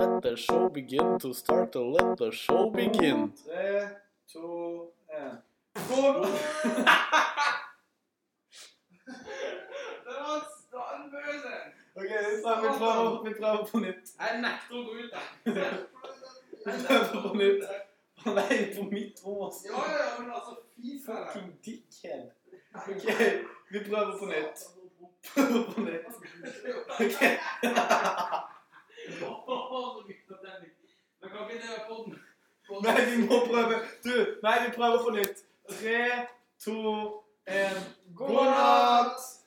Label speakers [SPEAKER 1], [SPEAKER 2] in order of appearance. [SPEAKER 1] let the show begin. To start the let the show begin.
[SPEAKER 2] Tre, to, en. Kom!
[SPEAKER 3] Det var standbøsen!
[SPEAKER 2] Ok, så vi prøver, vi prøver på nytt.
[SPEAKER 3] Jeg nekter å gå ut,
[SPEAKER 2] Vi prøver på nytt. Han er jo på mitt rom, altså.
[SPEAKER 3] Ja, ja, men altså, fy faen.
[SPEAKER 2] Fucking dickhead. Ok, vi prøver på nytt. Prøver på nytt. Ok,
[SPEAKER 3] Men kan ikke det være podden?
[SPEAKER 2] nei, vi må prøve. Du, nei, vi prøver på nytt. Tre, to, en. God natt!